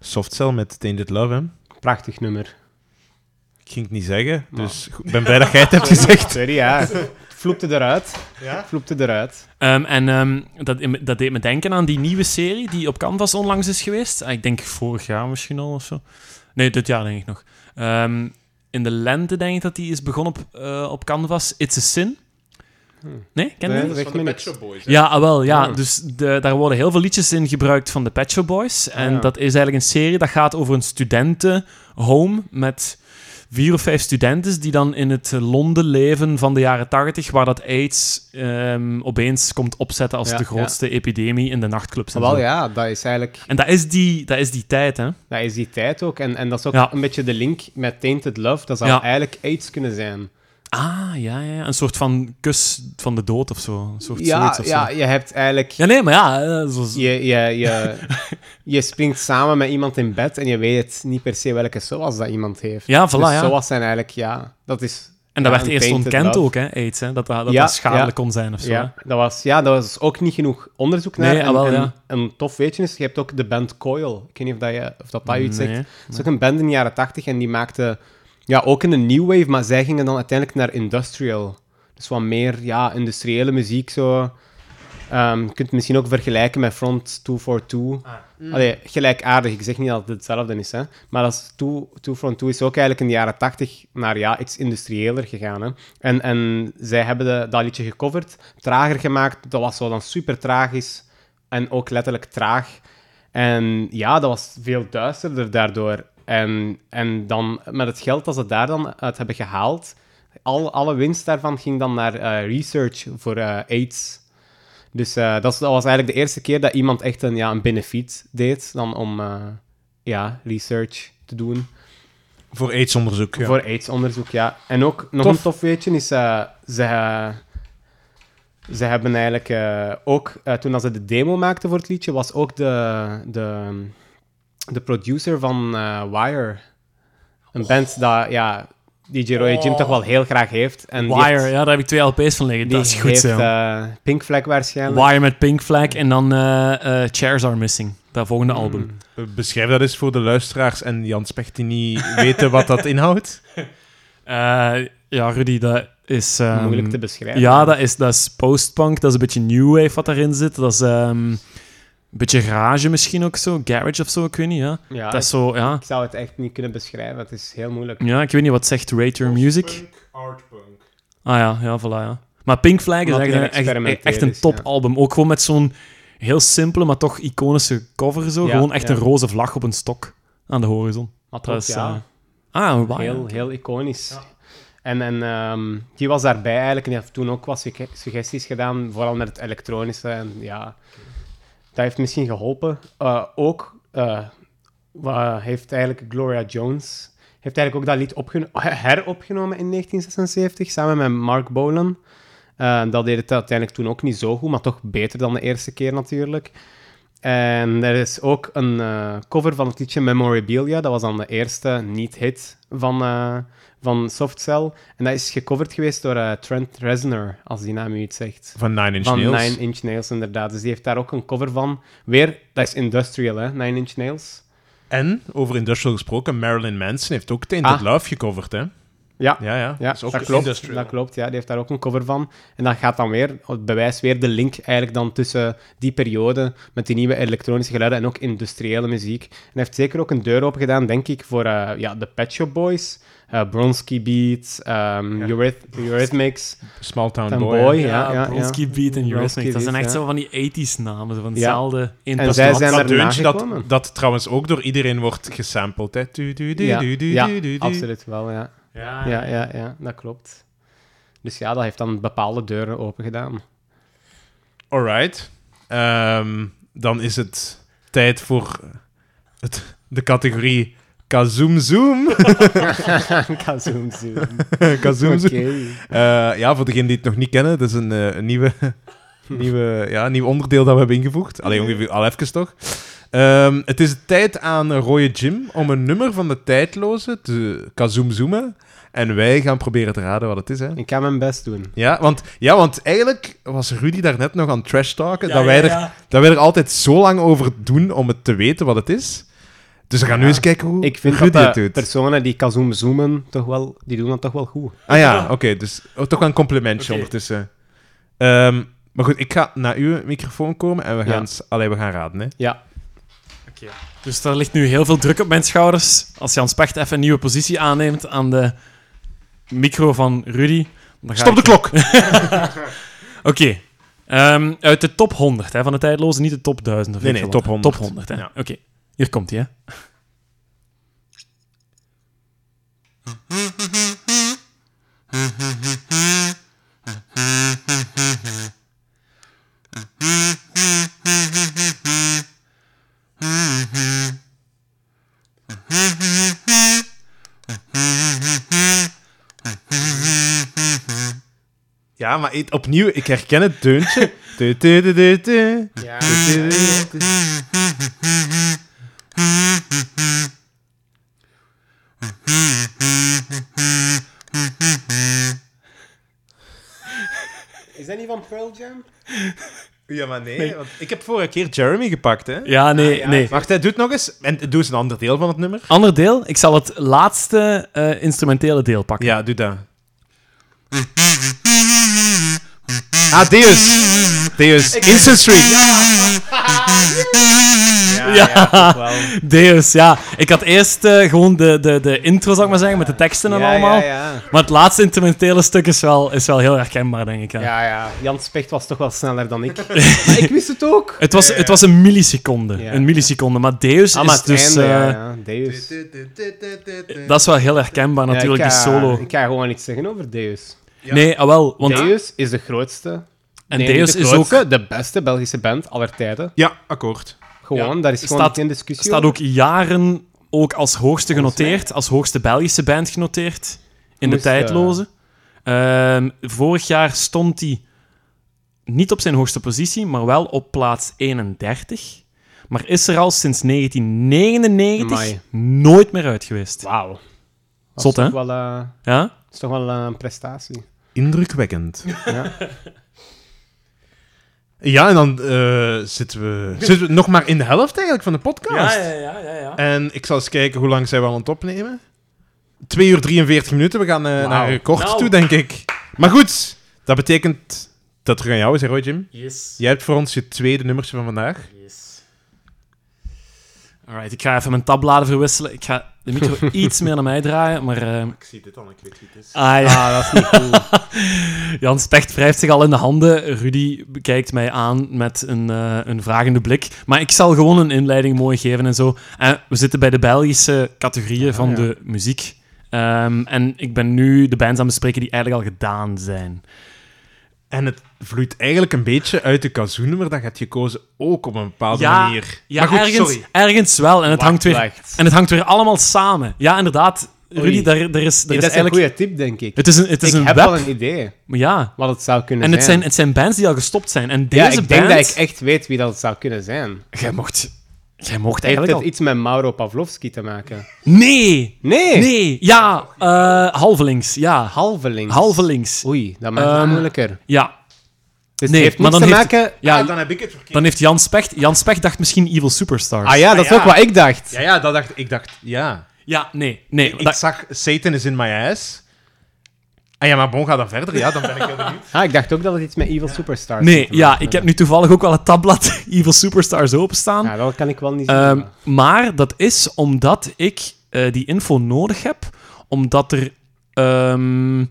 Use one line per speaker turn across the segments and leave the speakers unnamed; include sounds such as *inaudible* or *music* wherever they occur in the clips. Soft Cell met Tainted Love, hè.
Prachtig nummer.
Ik ging het niet zeggen, dus ik ben blij dat jij het
*laughs*
hebt gezegd.
Sorry,
*laughs*
ja. Vloepte eruit.
Ja?
Vloepte eruit.
Ehm, en ehm, dat, dat deed me denken aan die nieuwe serie die op Canvas onlangs is geweest. Ah, Ik denk vorig jaar misschien al of zo. Nee, dit jaar denk ik nog. Ehm, in de lente denk ik dat die is begonnen op, eh, op Canvas. It's a Sin. Nee, ken je
Nee.
die?
Dat
is
zegt
van de Pet
me niks.
Shop Boys. hè?
Ja, ah, wel, ja.
Ah.
Dus de, daar worden heel veel liedjes in gebruikt van de Pet Shop Boys. En
ja.
dat is eigenlijk een serie dat gaat over een studentenhome met vier of vijf studenten die dan in het eh, Londen leven van de jaren tachtig, waar dat AIDS ehm, opeens komt opzetten als
Ja, Ah,
de grootste epidemie in de nachtclubs. En,
Wel
zo.
ja, dat is eigenlijk...
en dat, is die, dat is die tijd, hè.
Dat is die tijd ook. En, en dat is ook
Ja.
een beetje de link met Tainted Love. Dat zou
Ja.
eigenlijk AIDS kunnen zijn.
Ah, ja, ja. Een soort van kus van de dood of zo. Een soort
Ja,
zoiets of
ja,
zo.
je hebt eigenlijk...
Ja, nee, maar ja. eh, zoals-
Je, je, je,
*laughs*
je springt samen met iemand in bed en je weet niet per se welke zoals dat iemand heeft.
Ja, voilà,
dus
ja.
zoals zijn eigenlijk, ja, dat is...
En dat
ja,
werd
een
eerst
tainted
ontkend
love.
ook, hè, AIDS, hè. Dat dat, dat,
Ja,
dat schadelijk
ja.
kon zijn of zo, hè.
Ja, dat was, ja, dat was ook niet genoeg onderzoek naar.
Nee,
en,
ah, wel,
en
ja.
Een tof weetje is, je hebt ook de band Coil. Ik weet niet of dat, je, of dat, dat je iets
Nee.
zegt. Het is ook een band in de jaren 80 en die maakte ja, ook in de new wave, maar zij gingen dan uiteindelijk naar industrial. Dus wat meer ja, industriële muziek. Zo. Ehm, je kunt het misschien ook vergelijken met Front 242. Allee, gelijkaardig. Ik zeg niet dat het hetzelfde is. Hè? Maar dat is 2, 2 Front 2 is ook eigenlijk in de jaren 80 naar ja, iets industriëler gegaan. Hè? En, en zij hebben de, dat liedje gecoverd, trager gemaakt. Dat was zo dan super tragisch en ook letterlijk traag. En ja, dat was veel duisterder daardoor. En, en dan met het geld dat ze daar dan uit hebben gehaald, al, alle winst daarvan ging dan naar eh, research voor eh, AIDS. Dus eh, dat, is- dat was eigenlijk de eerste keer dat iemand echt een, ja, een benefiet deed dan om eh, ja, research te doen
Voor aidsonderzoek, ja.
voor AIDS-onderzoek. Ja. En ook nog
Tof.
een tof weetje is, eh, ze, ze hebben eigenlijk eh, ook, eh, toen dat ze de demo maakten voor het liedje, was ook de, de, de producer van eh, Wire. Een
Oh.
band dat, ja, DJ Roy Jim toch wel heel graag heeft. En die
Wire,
heeft-
ja, daar heb ik twee LP's van liggen.
die
dat is goed
heeft
zo.
eh, Pink Flag waarschijnlijk.
Wire met Pink Flag en dan eh, eh, Chairs Are Missing, dat volgende
Hmm.
album.
Eh, Beschrijf dat eens voor de luisteraars en Jan Specht die niet weten wat dat inhoudt.
Eh, ja, Rudy, dat is... ehm,
Moeilijk te beschrijven.
Ja, dat is, dat is postpunk, dat is een beetje new wave wat daarin zit. Dat is ehm, een beetje garage misschien ook zo, garage of zo, ik weet niet, ja.
Ja,
Dat is zo, ja.
Ah, Ik zou het echt niet kunnen beschrijven, het is heel moeilijk.
Ja, ik weet niet, wat zegt Rate Your Music?
Punk, artpunk.
Ah ja, ja, voilà, ja. Maar Pink Flag is
Omdat hij
eigenlijk echt, echt,
experimenteel
een
is,
topalbum. Ook gewoon met zo'n heel simpele, maar toch iconische cover zo.
Ja,
gewoon echt
ja.
een roze vlag op een stok aan de horizon.
Maar toch,
Dat is,
ja.
eh, ah, waar.
Heel, heel iconisch. En, en ehm, die was daarbij eigenlijk en die heeft toen ook wat sugge- suggesties gedaan, vooral met het elektronische. En ja, dat heeft misschien geholpen. Eh, ook eh, wa- heeft eigenlijk Gloria Jones heeft eigenlijk ook dat lied opgeno- *laughs* heropgenomen in 1976 samen met Mark Bolan. Eh, dat deed het uiteindelijk toen ook niet zo goed, maar toch beter dan de eerste keer natuurlijk. En er is ook een eh, cover van het liedje Memorabilia. Dat was dan de eerste niet-hit van, eh van Soft Cell. En dat is gecoverd geweest door eh, Trent Reznor, als die naam u iets zegt.
Van Nine Inch
Van
Nails.
Nine Inch Nails, inderdaad. Dus die heeft daar ook een cover van. Weer, dat is industrial, hè? Nine Inch Nails.
En, over industrial gesproken, Marilyn Manson heeft ook Tainted
Ah.
Love gecoverd, hè?
Ja,
Ja, ja.
ja
is ook
dat, klopt,
industrial.
dat klopt. Ja, die heeft daar ook een cover van. En dat gaat dan weer, het bewijs weer de link eigenlijk dan tussen die periode met die nieuwe elektronische geluiden en ook industriële muziek. En hij heeft zeker ook een deur open gedaan, denk ik, voor eh, ja, de Pet Shop Boys, eh Bronsky Beats, ehm Euryth- Eurythmics,
Small Town
Town
Boy.
Boy.
hè.
Ja, ja, ja.
Bronski Beat en Eurythmics. Dat
Beat,
zijn echt
ja.
zo van die 80s namen, zo van
Ja.
hetzelfde
En
input.
zij
Dat-
zijn
dat
er
deuntje
nagekomen.
dat, dat trouwens ook door iedereen wordt gesampled, hè? Du, du, du,
Ja,
du, du,
ja,
du, du, du.
absoluut wel, ja.
Ja,
Ja, ja, ja, dat klopt. Dus ja, dat heeft dan bepaalde deuren
*laughs*
open gedaan. *laughs*
Alright. Ehm, dan is het tijd voor het, de categorie Kazoom Zoom. *laughs*
Kazoom zoom.
Kazoom Zoom.
Oké.
Eh, ja, voor degenen die het nog niet kennen, dat is een, eh, een
*laughs*
nieuwe, nieuwe, ja, een nieuw onderdeel dat we hebben ingevoegd. Alleen ongeveer al even toch. Ehm, het is tijd aan Roye Jim om een nummer van de tijdloze te kazoomzoomen. En wij gaan proberen te raden wat het is. Hè?
Ik ga mijn best doen.
Ja, want, ja, want eigenlijk was Rudy daarnet nog aan trash talken. dat, wij
ja,
er,
ja.
dat wij er altijd zo lang over doen om het te weten wat het is. Dus we gaan nu
Ja.
eens kijken hoe
Ik vind
Rudy
dat
het
de
doet.
personen die Kazoom zoomen, toch wel, die doen dat toch wel goed.
Ah ja, oké. dus oh, toch wel een complimentje
Oké.
ondertussen. Ehm, maar goed, ik ga naar uw microfoon komen en we
Ja.
gaan, s- allee, we gaan raden. Hè.
Ja,
Dus daar ligt nu heel veel druk op mijn schouders. Als Jan Specht even een nieuwe positie aanneemt aan de micro van Rudy. Dan ga
Stop de
ik-
klok!
*laughs*
*laughs*
Oké. Ehm, uit de top 100 hè, van de tijdloze, niet de top 1000. Of
Nee,
weet
nee,
ik veel
top 100.
wat. Top 100, hè.
Ja.
Oké. Hier komt hij, hè.
Ja, maar ik- opnieuw, ik herken het *laughs* deuntje. Du- du- du- du- du.
ja.
Du- du- du- du.
Is dat niet van Pearl Jam?
Oh Ja, maar nee, want ik heb vorige keer Jeremy gepakt, hè?
Ja, nee, nee.
Wacht, hè, doe het nog eens. En doe eens een ander deel van het nummer.
Ander deel. Ik zal het laatste eh, instrumentele deel pakken.
Ja, doe
*laughs*
dat. Ah, Deus. Deus. Instant Street.
Ja,
Ja.
toch wel.
Deus, ja. Ik had eerst eh, gewoon de, de, de intro, zal ik maar zeggen, met de teksten en
Ja,
allemaal.
ja, ja.
Maar het laatste instrumentele stuk is wel, is wel heel herkenbaar, denk ik. Ja.
Ja, ja. Jan Specht was toch wel sneller dan *laughs* ik. maar ik wist het ook.
Het, was, het was een milliseconde.
Ja.
Een milliseconde. Maar Deus
Ah, maar
is
het
dus...
einde, ja,
eh,
ja. Deus.
Dat is wel heel herkenbaar, natuurlijk,
Ja, ik
die
ga-
solo.
Ik ga gewoon niks zeggen over Deus.
Ja.
Nee, ah, wel. Want,
Deus is de grootste.
En
nee,
Deus
niet de
is ook...
grootste, de beste Belgische band aller tijden.
Ja, akkoord.
Gewoon,
Ja,
daar is gewoon
staat-
geen discussie
staat ook jaren ook als hoogste
Volgens
genoteerd, als hoogste Belgische band genoteerd in de
Moest, eh,
tijdloze. Ehm, vorig jaar stond hij niet op zijn hoogste positie, maar wel op plaats 31. Maar is er al sinds 1999
Amai.
nooit meer uit geweest.
Wauw. Dat is
Zot,
toch
hè?
wel, eh,
Ja?
dat is toch wel eh, een prestatie.
Indrukwekkend.
Ja.
Ja, en dan eh, zitten,
*laughs*
we, zitten we nog maar in de helft eigenlijk van de podcast.
ja, ja, ja.
En ik zal eens kijken hoe lang zijn we aan het opnemen. 2 uur 43 minuten. We gaan eh,
Wauw.
naar een record
Nou.
toe, denk ik. Maar goed, dat betekent dat het terug aan jou is, hè, Roy Jim?
Yes.
Jij hebt voor ons je tweede nummertje van vandaag.
Yes. Alright, ik ga even mijn tabbladen verwisselen. Ik ga de *laughs* micro iets meer naar mij draaien, maar... ehm,
Ik zie dit al, ik weet wie het is.
ah ja,
Ah, dat is niet
*laughs*
cool.
Jan Specht wrijft zich al in de handen. Rudy kijkt mij aan met een, eh, een vragende blik. Maar ik zal gewoon een inleiding mooi geven en zo. En we zitten bij de Belgische categorieën van
ja.
de muziek. Ehm, en ik ben nu de bands aan het bespreken die eigenlijk al gedaan zijn.
En het vloeit eigenlijk een beetje uit de kazoo-nummer dat je hebt gekozen, ook op een bepaalde
Ja,
manier.
Ja,
maar goed,
ergens,
sorry.
ergens wel. En het,
Wacht,
hangt weer,
wacht.
en het hangt weer allemaal samen. Ja, inderdaad.
Oei.
Rudy, daar, daar is, daar
Nee,
is
dat is een
eigenlijk...
goede tip, denk ik.
Het is een, het is
ik
een
heb
web.
wel een idee
Ja.
wat het zou kunnen
En het
zijn.
zijn, het zijn bands die al gestopt zijn. En deze
ja, ik
band...
denk dat ik echt weet wie dat het zou kunnen zijn.
Jij mocht... Jij mocht
Heeft
eigenlijk
het
al...
iets met Mauro Pavlovski te maken?
Nee!
Nee!
Nee, ja, eh halvelings, ja.
Halve links.
Halve links,
Oei, dat maakt het
Ehm,
moeilijker. Dus
ja.
het
nee,
heeft
maar
niks
dan
te
heeft-
maken...
Ah,
ja.
dan heb ik het verkeerd.
Dan heeft Jan Specht... Jan Specht dacht misschien Evil Superstars.
Ah ja, dat is
Ah, ja.
ook wat ik dacht.
Ja, ja, dat dacht ik. Dacht, ja.
Ja, nee, nee.
Ik
dat-
zag Satan is in my ass. Ah ja, maar Bon gaat dan verder. Ja, dan ben ik heel benieuwd.
Ah, ik dacht ook dat het iets met Evil Superstars
nee,
had te
ja,
maken.
ik heb nu toevallig ook wel het tabblad *laughs* Evil Superstars openstaan.
Ja, dat kan ik wel niet zien.
Ehm, maar dat is omdat ik eh, die info nodig heb, omdat er ehm,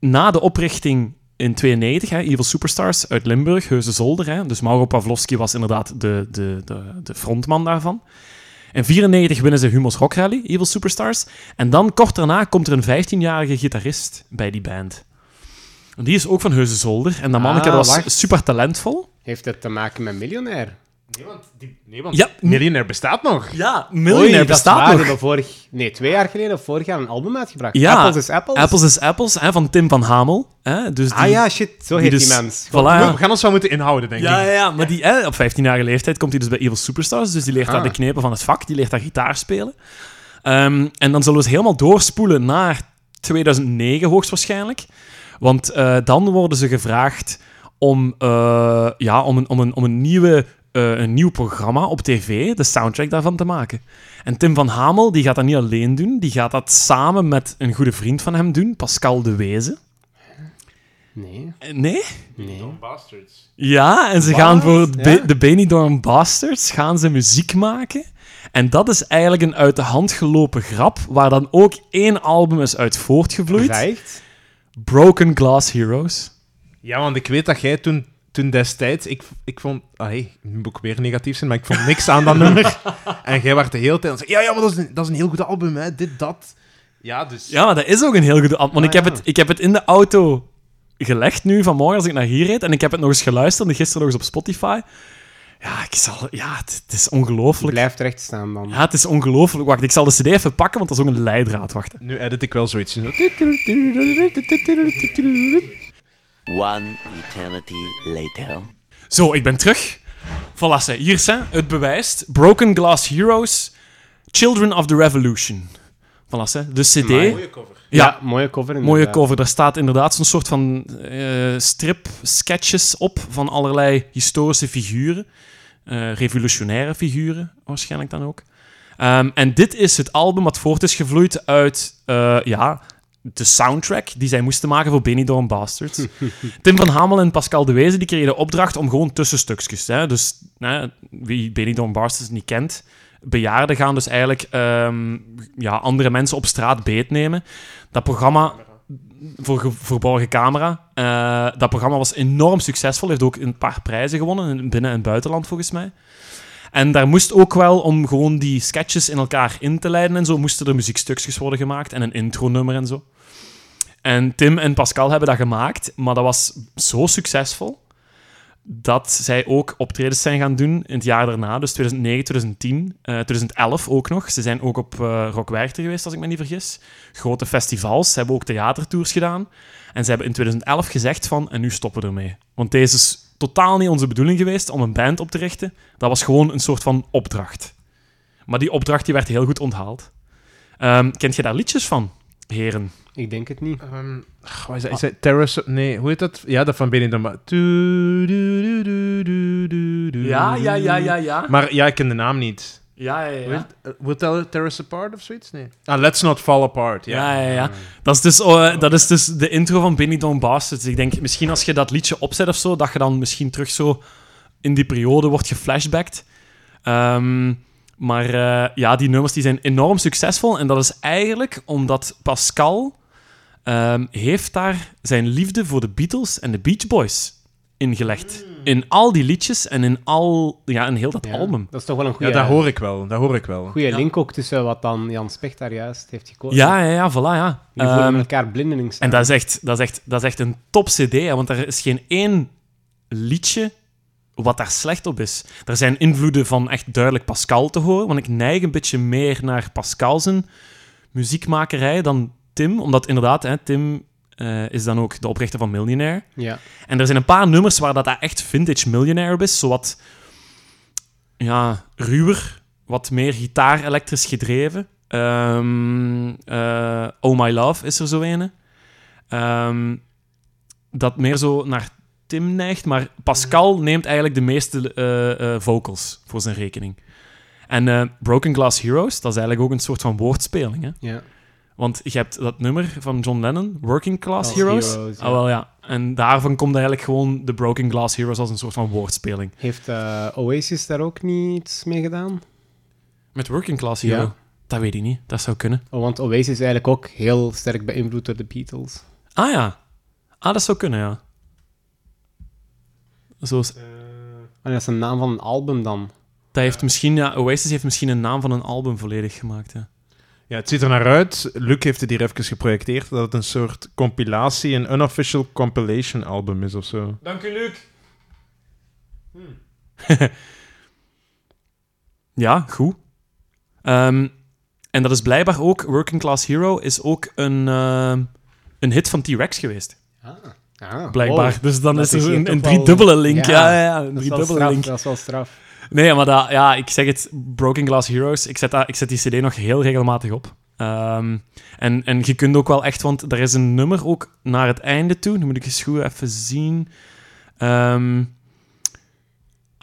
na de oprichting in 92, hè, Evil Superstars uit Limburg, Heuse Zolder, hè, dus Mauro Pavlovski was inderdaad de, de, de, de frontman daarvan. In 94 winnen ze Humo's Rock Rally, Evil Superstars. En dan kort daarna komt er een 15-jarige gitarist bij die band. En Die is ook van Heuse Zolder. En dat manneke
Ah,
dat was
wacht.
super talentvol.
Heeft het te maken met miljonair?
Nee, want, die, nee, want
Ja.
Millionaire bestaat nog.
Ja,
Oei,
miljonair
dat is waar,
bestaat
die
nog.
hebben vorig, nee, twee jaar geleden of vorig jaar een album uitgebracht.
Ja.
Apples is Apples.
Apples is Apples, hè, van Tim van Hamel. Hè, dus die,
Ah ja, shit, zo
die
heet die
dus-
mens.
Voilà,
We-
ja.
We gaan ons wel moeten inhouden, denk
Ja,
ik.
ja, ja, maar die, hè, op 15-jarige leeftijd komt hij dus bij Evil Superstars. Dus die leert daar
Ah.
de knepen van het vak. Die leert daar gitaar spelen. Ehm, en dan zullen we eens helemaal doorspoelen naar 2009 hoogstwaarschijnlijk. Want eh, dan worden ze gevraagd om, eh, ja, om, een, om, een, om een nieuwe eh, een nieuw programma op tv, de soundtrack daarvan te maken. En Tim van Hamel die gaat dat niet alleen doen, die gaat dat samen met een goede vriend van hem doen, Pascal de Wezen.
Nee,
Eh, Nee?
nee.
Bastards.
Ja, en ze
Wat?
gaan voor het Be-
Ja.
de Benidorm Bastards gaan ze muziek maken. En dat is eigenlijk een uit de hand gelopen grap, waar dan ook één album is uit voortgevloeid.
Echt?
Broken Glass Heroes.
Ja, want ik weet dat jij toen, toen destijds... Ik, ik vond... Allee, nu moet ik weer negatief zijn, maar ik vond niks *laughs* aan dat nummer. En jij werd de hele tijd aan het zeggen, Ja, ja, maar dat is een, dat is een heel goed album, hè. Dit, dat. Ja, dus...
Ja, maar dat is ook een heel goed antwoord. Want ik,
Ah,
heb
ja.
het, ik heb het in de auto gelegd nu vanmorgen als ik naar hier reed. En ik heb het nog eens geluisterd. En gisteren nog eens op Spotify. Ja, ik zal, ja het, het is ongelooflijk.
Blijf rechtstaan dan.
Ja, het is ongelooflijk. Wacht, ik zal de CD even pakken, want dat is ook een leidraad. Wacht.
Nu edit ik wel zoiets.
One eternity later.
Zo, ik ben terug. Voilà, ze. hier zijn het bewijst. Broken Glass Heroes, Children of the Revolution. Voilà, ze. de CD.
Amai.
cover.
ja,
mooie cover inderdaad.
Mooie cover. Daar staat inderdaad zo'n soort van eh, strip, sketches op van allerlei historische figuren. Eh, revolutionaire figuren, waarschijnlijk dan ook. Ehm, en dit is het album wat voort is gevloeid uit eh, ja, de soundtrack die zij moesten maken voor Benidorm Bastards. Tim van Hamel en Pascal de Wezen die kregen de opdracht om gewoon tussenstukjes. Hè? Dus hè, wie Benidorm Bastards niet kent, bejaarden gaan dus eigenlijk ehm, ja, andere mensen op straat beetnemen. Dat programma voor ge- verborgen camera. eh, dat programma was enorm succesvol. Heeft ook een paar prijzen gewonnen, in- binnen en buitenland volgens mij. En daar moest ook wel, om gewoon die sketches in elkaar in te leiden en zo, moesten er muziekstukjes worden gemaakt en een intronummer en zo. En Tim en Pascal hebben dat gemaakt, maar dat was zo succesvol dat zij ook optredens zijn gaan doen in het jaar daarna, dus 2009, 2010, eh, 2011 ook nog. Ze zijn ook op eh Rock Werchter geweest, als ik me niet vergis. Grote festivals, ze hebben ook theatertours gedaan. En ze hebben in 2011 gezegd van, en nu stoppen we ermee. Want deze is totaal niet onze bedoeling geweest om een band op te richten. Dat was gewoon een soort van opdracht. Maar die opdracht die werd heel goed onthaald. Ehm, kent je daar liedjes van, heren?
Ik denk het niet.
Ehm, is dat? Is dat Terrace... Nee, hoe heet dat? Ja, dat van Benidorm. Ba- Du- du- du- du- du- du- du-
ja.
Maar ja, ik ken de naam niet.
Ja, ja,
Will, uh, will tell Terrace Apart of zoiets? Nee. Ah, Let's Not Fall Apart. Ja.
Ja, ja, ja. Dat is dus, eh, dat is dus de intro van Benidorm Bastards. Ik denk, misschien als je dat liedje opzet of zo, dat je dan misschien terug zo in die periode wordt geflashbacked. Ehm, maar eh, ja, die nummers die zijn enorm succesvol. En dat is eigenlijk omdat Pascal ehm, heeft daar zijn liefde voor de Beatles en de Beach Boys ingelegd. In al die liedjes en in, al, ja, in heel dat
Ja.
album.
Dat is toch wel een
Ja,
goede,
dat hoor ik wel. Dat hoor ik wel.
goede
Ja.
link ook tussen wat dan Jan Specht daar juist heeft gekozen.
Ja, ja, ja, voilà, ja.
Die voelen
Ehm,
elkaar blindelings
En dat is echt, dat is echt, dat is echt een top CD, hè, want er is geen één liedje wat daar slecht op is. Er zijn invloeden van echt duidelijk Pascal te horen, want ik neig een beetje meer naar Pascal zijn muziekmakerij dan Tim, omdat inderdaad, hè, Tim eh, is dan ook de oprichter van Millionaire.
Ja.
En er zijn een paar nummers waar dat echt vintage miljonair is. Zowat ja, ruwer, wat meer gitaar-elektrisch gedreven. Ehm, eh, oh My Love is er zo een. Ehm, dat meer zo naar Tim neigt, maar Pascal neemt eigenlijk de meeste eh, eh, vocals voor zijn rekening. En eh, Broken Glass Heroes, dat is eigenlijk ook een soort van woordspeling. Hè?
ja.
Want je hebt dat nummer van John Lennon, Working Class
Als
Heroes.
Oh, Heroes, ja.
Ah, wel ja. En daarvan komt eigenlijk gewoon de Broken Glass Heroes als een soort van woordspeling.
Heeft eh, Oasis daar ook niets mee gedaan?
Met Working Class Hero?
Ja.
Dat weet ik niet. Dat zou kunnen.
Oh, want Oasis is eigenlijk ook heel sterk beïnvloed door de Beatles.
Ah ja. Ah, dat zou kunnen, ja. Zoals,
En dat is een naam van een album dan.
dat heeft misschien, ja, Oasis heeft misschien een naam van een album volledig gemaakt. Ja.
Ja, het ziet er naar uit. Luc heeft het hier even geprojecteerd. Dat het een soort compilatie, een unofficial compilation album is of zo.
Dank u, Luc.
Ja, goed. Ehm, en dat is blijkbaar ook, Working Class Hero is ook een, ehm, een hit van T-Rex geweest.
Ah,
Blijkbaar. dus dan
dat
is er
is hier
een,
toch
een
wel-
driedubbele link.
Ja,
Ja, ja, ja, een
dat, is wel
driedubbele
straf,
link.
dat is wel straf.
Nee, maar dat, ja, ik zeg het, Broken Glass Heroes, ik zet, dat, ik zet die cd nog heel regelmatig op. Ehm, en, en je kunt ook wel echt, want er is een nummer ook naar het einde toe, nu moet ik eens goed even zien. Ehm,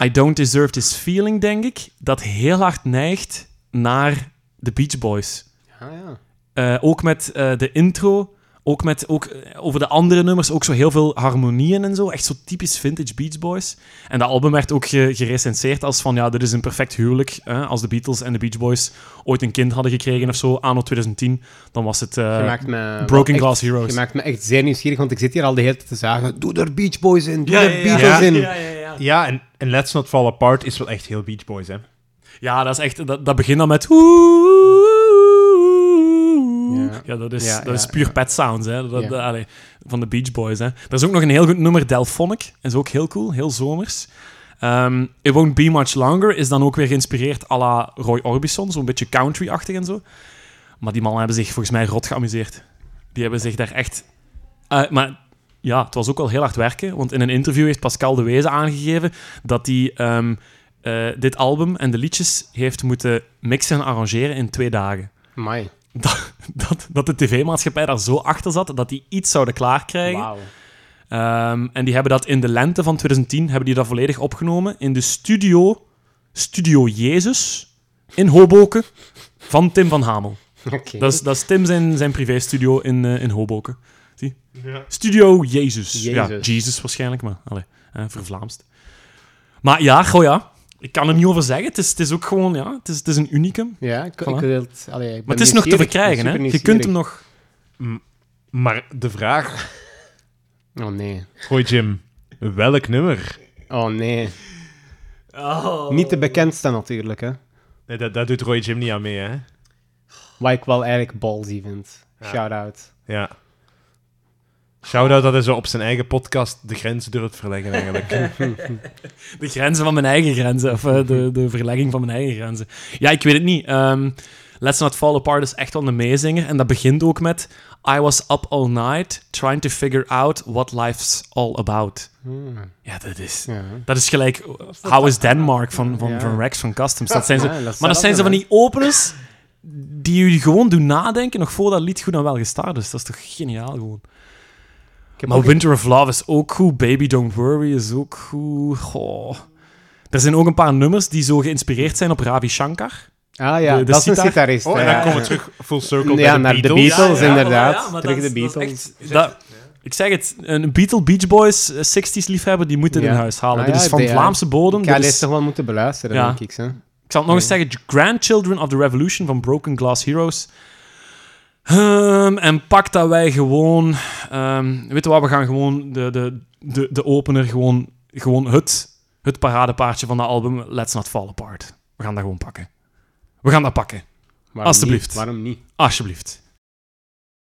I Don't Deserve This Feeling, denk ik, dat heel hard neigt naar de Beach Boys.
Ah, ja.
Eh, ook met eh, de intro, ook met ook, eh, over de andere nummers, ook zo heel veel harmonieën en zo. Echt zo typisch vintage Beach Boys. En dat album werd ook ge gerecenseerd als van, ja, dit is een perfect huwelijk. Hè? Als de Beatles en de Beach Boys ooit een kind hadden gekregen of zo, anno 2010, dan was het... eh,
Je maakt me
Broken
echt-
Glass Heroes.
Je maakt me echt zeer nieuwsgierig, want ik zit hier al de hele tijd te zagen. Doe er Beach Boys in, doe er Beatles
ja.
in.
ja, ja, ja.
Ja, en, en Let's Not Fall Apart is wel echt heel Beach Boys, hè.
Ja, dat is echt... Dat, dat begint dan met...
Ja.
Ja, dat is,
Ja,
dat
ja,
is puur
ja.
Pet Sounds, hè. Dat,
Ja.
dat- allee, van de Beach Boys, hè. Er is ook nog een heel goed nummer, Delphonic. Is ook heel cool, heel zomers. Ehm, It Won't Be Much Longer is dan ook weer geïnspireerd à la Roy Orbison. Zo'n beetje country-achtig en zo. Maar die mannen hebben zich volgens mij rot geamuseerd. Die hebben zich daar echt... eh, maar ja, het was ook wel heel hard werken. Want in een interview heeft Pascal de Wezen aangegeven dat hij ehm, eh, dit album en de liedjes heeft moeten mixen en arrangeren in twee dagen. *laughs*
Amai.
Dat, dat, dat de tv-maatschappij daar zo achter zat dat die iets zouden klaarkrijgen.
Wauw. *laughs*
Ehm, en die hebben dat in de lente van 2010 hebben die dat volledig opgenomen in de studio, Studio Jezus, in Hoboken, van Tim van Hamel.
Oké.
Dat is, dat is Tim zijn, zijn privéstudio in, eh, in Hoboken. Zie? Studio Jezus. Ja,
Jezus.
Jesus waarschijnlijk, maar allee, hè, vervlaamst. Maar ja, goh ja. Ik kan er niet over zeggen. Het is, het is ook gewoon, ja, het is, het is een unicum.
Ja, ik, ik
Voilà.
wil het... allee, ik ben
Maar het is nog te
nieuwsgierig.
verkrijgen,
Ik
hè.
ben
Je
super
kunt hem nog...
Maar de vraag,
nieuwsgierig. Oh nee.
Roy Jim, welk nummer?
Oh nee. Niet de bekendste natuurlijk, hè.
Nee, dat, dat doet Roy Jim niet aan mee, hè.
Wat ik wel eigenlijk ballsy vind. Shout-out.
Ja. Shout-out dat hij zo op zijn eigen podcast de grens durft verleggen, eigenlijk.
De grenzen van mijn eigen grenzen. Of eh, de, de verlegging van mijn eigen grenzen. Ja, ik weet het niet. Ehm, Let's Not Fall Apart is echt wel een meezinger. En dat begint ook met... I was up all night trying to figure out what life's all about. Ja, dat is...
Hmm. Ja.
Dat is gelijk eh, How is Denmark van, van,
Ja.
van Rex van Customs. Dat zijn ze,
Ja, dat is
maar dat zijn ze van die openers die jullie gewoon doen nadenken nog voordat het lied goed en wel gestart is. Dat is toch geniaal gewoon.
Ik heb
Maar
ook-
Winter of Love is ook goed. Baby Don't Worry is ook goed. Goh. Er zijn ook een paar nummers die zo geïnspireerd zijn op Ravi Shankar.
Ah ja,
de- de
dat is een
sitar.
gitarist.
Oh, en
ja.
dan komen we terug full circle
Ja,
bij
naar
de
de
Beatles.
Beatles. Ja, inderdaad.
maar dat
Terug
is-
de
dat is
Beatles.
echt- dat- ik zeg het, een Beatle Beach Boys eh, 60s liefhebber, die moet dit
Ja.
in huis halen.
Ah,
dit
ja,
is van
de- ja.
Vlaamse bodem.
Ik ga
dit
deze
is-
toch wel moeten beluisteren,
Ja.
denk ik. Hè.
Ik zal het nog eens zeggen: Grandchildren of the Revolution van Broken Glass Heroes. Ehm, en pak dat wij gewoon. ehm weet je wat, we gaan gewoon de, de, de, de opener, gewoon, gewoon het, het paradepaardje van dat album, Let's Not Fall Apart. We gaan dat gewoon pakken. We gaan dat pakken,
Waarom niet?
Alsjeblieft.
Waarom niet?
alsjeblieft.